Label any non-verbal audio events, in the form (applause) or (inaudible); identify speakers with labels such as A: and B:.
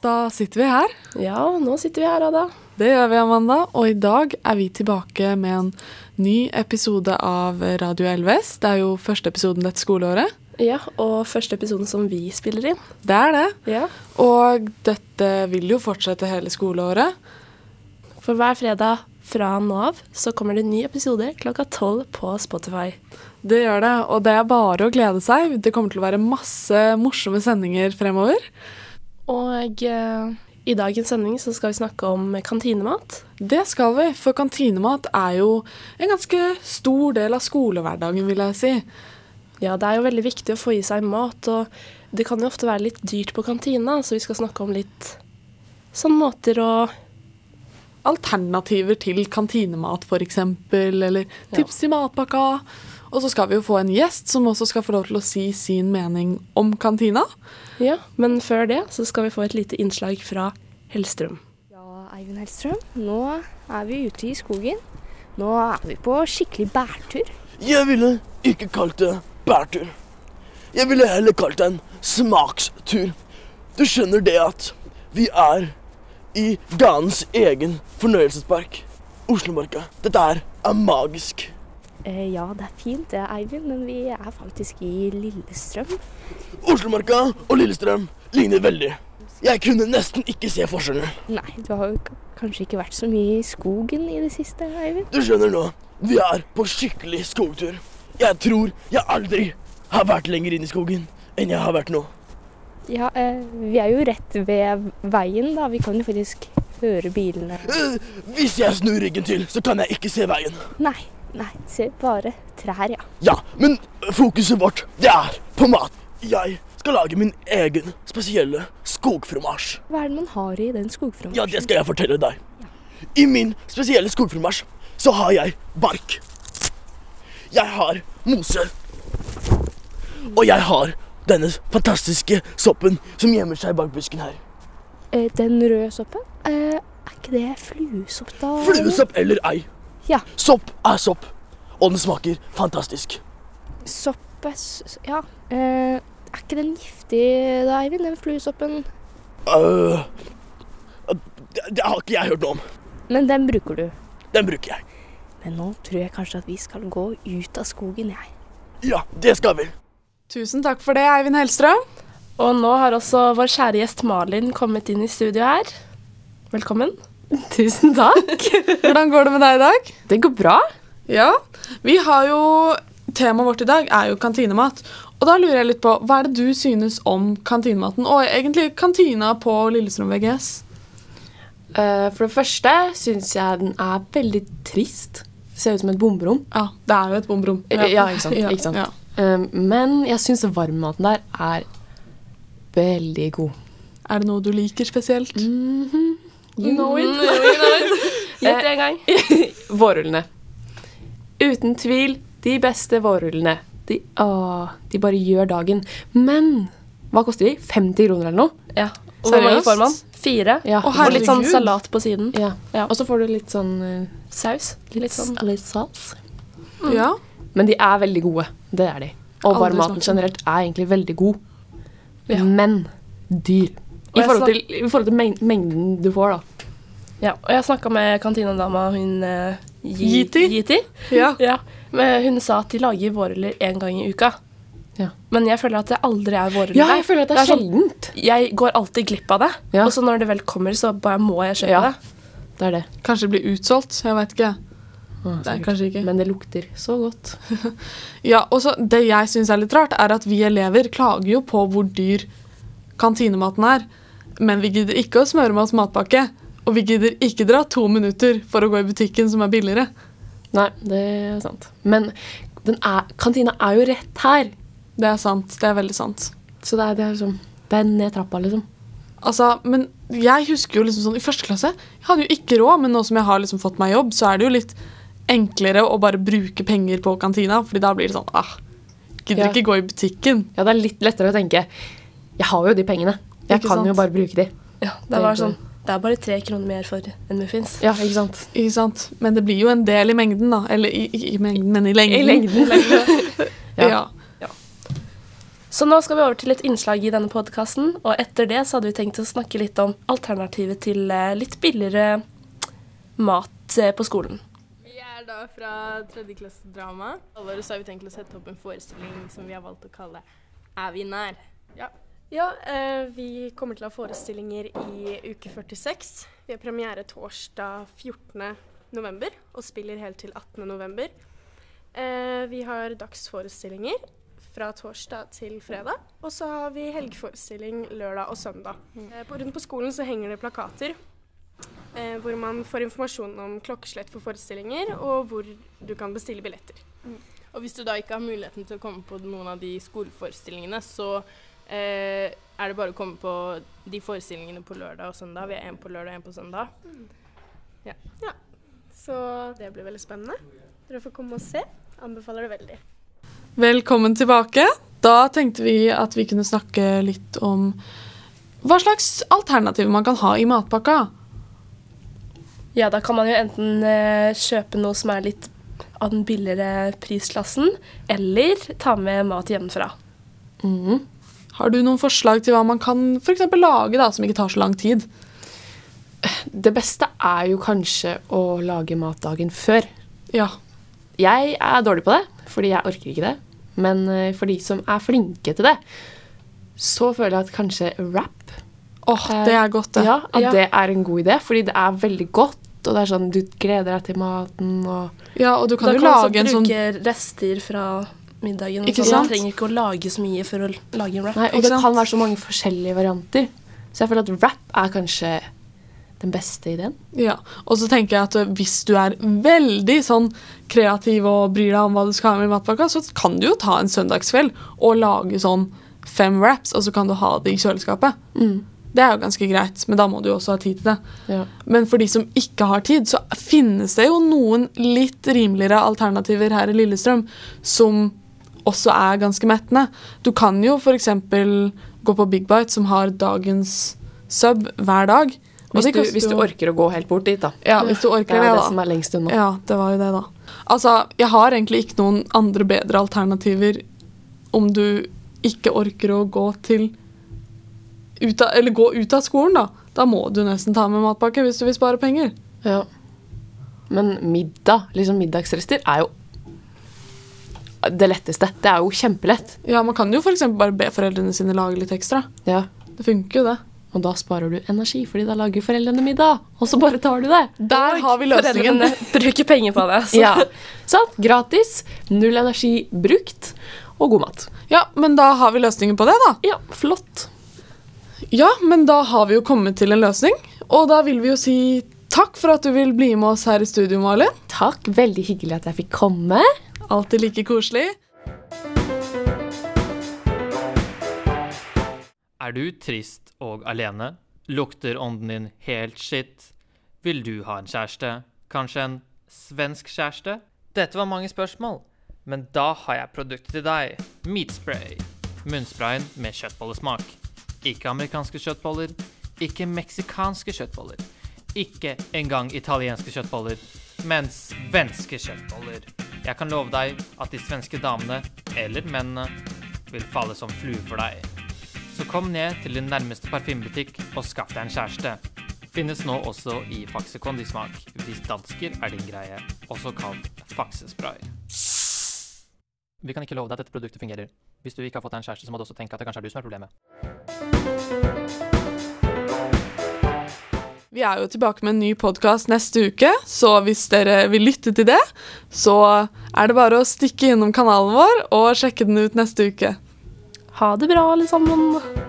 A: Da sitter vi her.
B: Ja, nå sitter vi her, Ada.
A: Det gjør vi, Amanda. Og i dag er vi tilbake med en ny episode av Radio Elves. Det er jo første episoden dette skoleåret.
B: Ja, og første episoden som vi spiller inn.
A: Det er det.
B: Ja.
A: Og dette vil jo fortsette hele skoleåret.
B: For hver fredag fra nå av så kommer det en ny episode klokka tolv på Spotify.
A: Det gjør det, og det er bare å glede seg. Det kommer til å være masse morsomme sendinger fremover.
B: Og eh, i dagens sending så skal vi snakke om kantinemat.
A: Det skal vi, for kantinemat er jo en ganske stor del av skolehverdagen, vil jeg si.
B: Ja, det er jo veldig viktig å få i seg mat, og det kan jo ofte være litt dyrt på kantina, så vi skal snakke om litt sånn måter å
A: alternativer til kantinemat, f.eks., eller tips i matpakka. Og så skal vi jo få en gjest som også skal få lov til å si sin mening om kantina.
B: Ja, men før det så skal vi få et lite innslag fra Hellstrøm.
C: Ja, Eivind Hellstrøm, nå er vi ute i skogen. Nå er vi på skikkelig bærtur.
D: Jeg ville ikke kalt det bærtur. Jeg ville heller kalt det en smakstur. Du skjønner det at vi er i ganens egen fornøyelsespark. Oslomarka. Dette her er magisk.
C: Eh, ja, det er fint det, Eivind, men vi er faktisk i Lillestrøm.
D: Oslomarka og Lillestrøm ligner veldig. Jeg kunne nesten ikke se forskjellen.
C: Nei, du har jo k- kanskje ikke vært så mye i skogen i det siste, Eivind?
D: Du skjønner nå, vi er på skikkelig skogtur. Jeg tror jeg aldri har vært lenger inne i skogen enn jeg har vært nå.
C: Ja, eh, vi er jo rett ved veien, da. Vi kan jo faktisk høre bilene.
D: Eh, Hvis jeg snur ryggen til, så kan jeg ikke se veien.
C: Nei, nei, se bare trær, ja.
D: Ja, men fokuset vårt, det er på mat. Jeg skal lage min egen spesielle skogfromasj.
C: Hva er det man har i den skogfronten?
D: Ja, det skal jeg fortelle deg. I min spesielle skogfromasj så har jeg bark. Jeg har mose. Og jeg har denne fantastiske soppen som gjemmer seg bak busken her.
C: Eh, den røde soppen? Eh, er ikke det fluesopp, da? Eivind?
D: Fluesopp eller ei.
C: Ja.
D: Sopp er sopp, og den smaker fantastisk.
C: Sopp er s- s- Ja. Eh, er ikke den giftig da, Eivind? Den fluesoppen?
D: Øh, det, det har ikke jeg hørt noe om.
C: Men den bruker du.
D: Den bruker jeg.
C: Men nå tror jeg kanskje at vi skal gå ut av skogen, jeg.
D: Ja, det skal vi.
A: Tusen takk for det, Eivind Hellstrøm.
B: Og nå har også vår kjære gjest Malin kommet inn i studio her. Velkommen.
E: Tusen takk.
A: Hvordan går det med deg i dag?
E: Det går bra.
A: Ja, vi har jo Temaet vårt i dag er jo kantinemat. Og da lurer jeg litt på, hva er det du synes om kantinematen, og egentlig kantina på Lillestrøm VGS?
E: Eh, For det første syns jeg den er veldig trist. Ser ut som et bomberom.
A: Ja, det er jo et bomberom.
E: Ja, ja, ikke sant, ikke
A: (laughs)
E: sant.
A: Ja.
E: Eh, Men jeg syns varmmaten der er veldig god.
A: Er det noe du liker spesielt?
E: Mm. You know it.
B: Gjett en gang.
E: (laughs) Vårrullene. Uten tvil de beste vårrullene. De, åh, de bare gjør dagen. Men hva koster de? 50 kroner eller noe?
B: Ja. Og hvor mange
E: Seriøst?
B: får man? Fire.
E: Ja.
A: Å,
B: Og litt sånn
A: herregud.
B: salat på siden.
E: Ja.
B: Ja.
E: Og så får du litt sånn eh,
B: Saus. Litt
E: Litt,
B: sånn.
E: litt sats.
A: Ja.
E: Men de er veldig gode. Det er de. Og
A: Aldri
E: varmmaten
A: smakt den.
E: generelt er egentlig veldig god.
B: Ja.
E: Men dyr.
B: Og
E: I
B: jeg
E: forhold til, i forhold til meng mengden du får, da.
B: Ja. Og jeg snakka med kantinedama, hun eh, Yi-
A: Yiti?
B: Yiti.
A: ja.
B: Ja. Men hun sa at de lager vårruller én gang i uka.
E: Ja.
B: Men jeg føler at det aldri er vårruller
E: Ja,
B: der.
E: jeg føler at det er,
B: sånn,
E: sjeldent.
B: jeg går alltid glipp av det.
E: Ja.
B: Og så når det vel kommer, så bare må jeg kjøpe
E: Ja.
B: det.
E: Det er det.
A: Kanskje det blir utsolgt, jeg vet ikke. Det er
E: sikkert.
A: kanskje ikke.
E: Men det lukter så godt.
A: Ja, og så Det jeg syns er litt rart, er at vi elever klager jo på hvor dyr kantinematen er. Men vi gidder ikke å smøre med oss matpakke. Og vi gidder ikke dra to minutter for å gå i butikken som er billigere.
E: Nei, det er sant. Men den er, kantina er jo rett her.
A: Det er sant. Det er veldig sant.
E: Så det er, det er liksom Det er ned trappa, liksom.
A: Altså, men jeg husker jo liksom sånn, I første klasse jeg hadde jo ikke råd, men nå som jeg har liksom fått meg jobb, så er det jo litt enklere å bare bruke penger på kantina, fordi da blir det sånn ah, Gidder
E: Ja.
A: ikke gå i butikken.
E: Ja, det er litt lettere å tenke Jeg har jo de pengene. Jeg
A: Ikke
E: kan
A: sant?
E: jo bare bruke de.
B: Ja, det,
E: Det
B: var
E: går.
B: sånn, det er bare tre kroner mer for en muffins.
E: Ja, ikke sant?
A: Ikke sant? Men det blir jo en del i mengden, (laughs) da. Eller i, i, i mengden, men i lengden.
E: I lengden.
A: Ja.
E: Ja.
A: Ja.
B: Så Så nå skal vi over til et innslag i denne podkasten, og etter det så hadde vi tenkt å snakke litt om alternativet til eh, litt billigere mat eh, på skolen.
F: Vi er da fra tredjeklassedrama. Alvoret så har vi tenkt å sette opp en forestilling som vi har valgt å kalle Er vi nær? Ja.
G: eh, vi kommer til å ha forestillinger i uke 46. Vi har premiere torsdag 14. november og spiller helt til 18. november. Eh, vi har dagsforestillinger fra torsdag til fredag, og så har vi helgeforestilling lørdag og søndag.
F: Mm.
G: Eh, på, rundt på skolen så henger det plakater eh, hvor man får informasjon om klokkeslett for forestillinger, og hvor du kan bestille billetter.
F: Mm. Og hvis du da ikke har muligheten til å komme på noen av de skoleforestillingene, så eh, er det bare å komme på de forestillingene på lørdag og søndag. Vi har én på lørdag og én på søndag.
G: Så det blir veldig spennende. Dere får komme og se. Anbefaler det veldig.
A: Velkommen tilbake. Da tenkte vi at vi kunne snakke litt om hva slags alternativer man kan ha i matpakka.
B: Ja, da kan man jo enten eh, kjøpe noe som er litt av den billigere prisklassen, eller ta med mat hjemmefra.
E: Mhm.
A: Har du noen forslag til hva man kan for eksempel lage da, som ikke tar så lang tid?
E: Det beste er jo kanskje å lage mat dagen før.
A: Ja,
E: Jeg er dårlig på det, fordi jeg orker ikke det. Men eh, for de som er flinke til det, så føler jeg at kanskje wrap
A: åh, det er godt det.
E: ja, at
B: Eh, Ja.
E: det er en god idé. Fordi det er veldig godt, og det er sånn du gleder deg til maten og
A: Ja, og du kan
B: da
A: jo
B: kan man også
A: lage en sånn
B: bruke rester fra middagen. og
A: Ikke
B: sånn.
A: sant?
B: Man trenger ikke å lage så mye for å l- lage en wrap.
E: Nei,
A: Ikke
E: Og det
A: sant?
E: kan være så mange forskjellige varianter. Så jeg føler at wrap er kanskje den beste ideen.
A: Ja, og så tenker jeg at ø, hvis du er veldig sånn kreativ og bryr deg om hva du skal ha med i matpakka, så kan du jo ta en søndagskveld og lage sånn fem wraps, og så kan du ha det i kjøleskapet.
E: Mm.
A: Det er jo ganske greit, men da må du jo også ha tid til det.
E: Ja.
A: Men for de som ikke har tid, så finnes det jo noen litt rimeligere alternativer her i Lillestrøm som også er ganske mettende. Du kan jo f.eks. gå på Big Bite, som har dagens sub hver dag. Og
E: Hvis,
A: det
E: du,
A: koster
E: hvis du
A: jo-
E: orker å gå helt bort dit, da.
A: Ja, hvis du
E: Det
A: orker
E: er
A: det,
E: jo det
A: da.
E: som er lengst unna.
A: Ja, det var jo det, da. Altså, jeg har egentlig ikke noen andre bedre alternativer om du ikke orker å gå til ut av, Eller gå ut av skolen, da. Da må du nesten ta med matpakke hvis du vil spare penger.
E: Ja. Men middag, liksom middagsrester, er jo det letteste. Det er jo kjempelett.
A: Ja, Man kan jo f.eks. bare be foreldrene sine lage litt ekstra.
E: Ja.
A: Det funker jo, det.
E: Og da sparer du energi, fordi da lager foreldrene middag. Og så bare tar du det.
A: Der har vi løsningen.
B: Foreldrene bruker penger på det. Så.
E: (laughs) Ja. Sant? Gratis. Null energi brukt. Og god mat.
A: Ja, men da har vi løsningen på det, da.
E: Ja, flott.
A: Ja, men da har vi jo kommet til en løsning. Og da vil vi jo si takk for at du vil bli med oss her i studio, Malin.
E: Takk. Veldig hyggelig at jeg fikk komme.
A: Alltid like koselig.
H: Er du trist og alene? Lukter ånden din helt skitt? Vil du ha en kjæreste? Kanskje en svensk kjæreste? Dette var mange spørsmål, men da har jeg produktet til deg. Meatspray. Munnsprayen med kjøttbollesmak. Ikke amerikanske kjøttboller, ikke meksikanske kjøttboller, ikke engang italienske kjøttboller, men svenske kjøttboller. Jeg kan love deg at de svenske damene, eller mennene, vil falle som fluer for deg. Så kom ned til din nærmeste parfymebutikk og skaff deg en kjæreste. Finnes nå også i Faxe kondismak, hvis dansker er din greie, også kalt faksespray. Vi kan ikke love deg at dette produktet fungerer. Hvis du ikke har fått deg en kjæreste, så må du også tenke at det kanskje er du som er problemet.
A: Vi er jo tilbake med en ny podkast neste uke, så hvis dere vil lytte til det, så er det bare å stikke innom kanalen vår og sjekke den ut neste uke.
B: Ha det bra, alle sammen.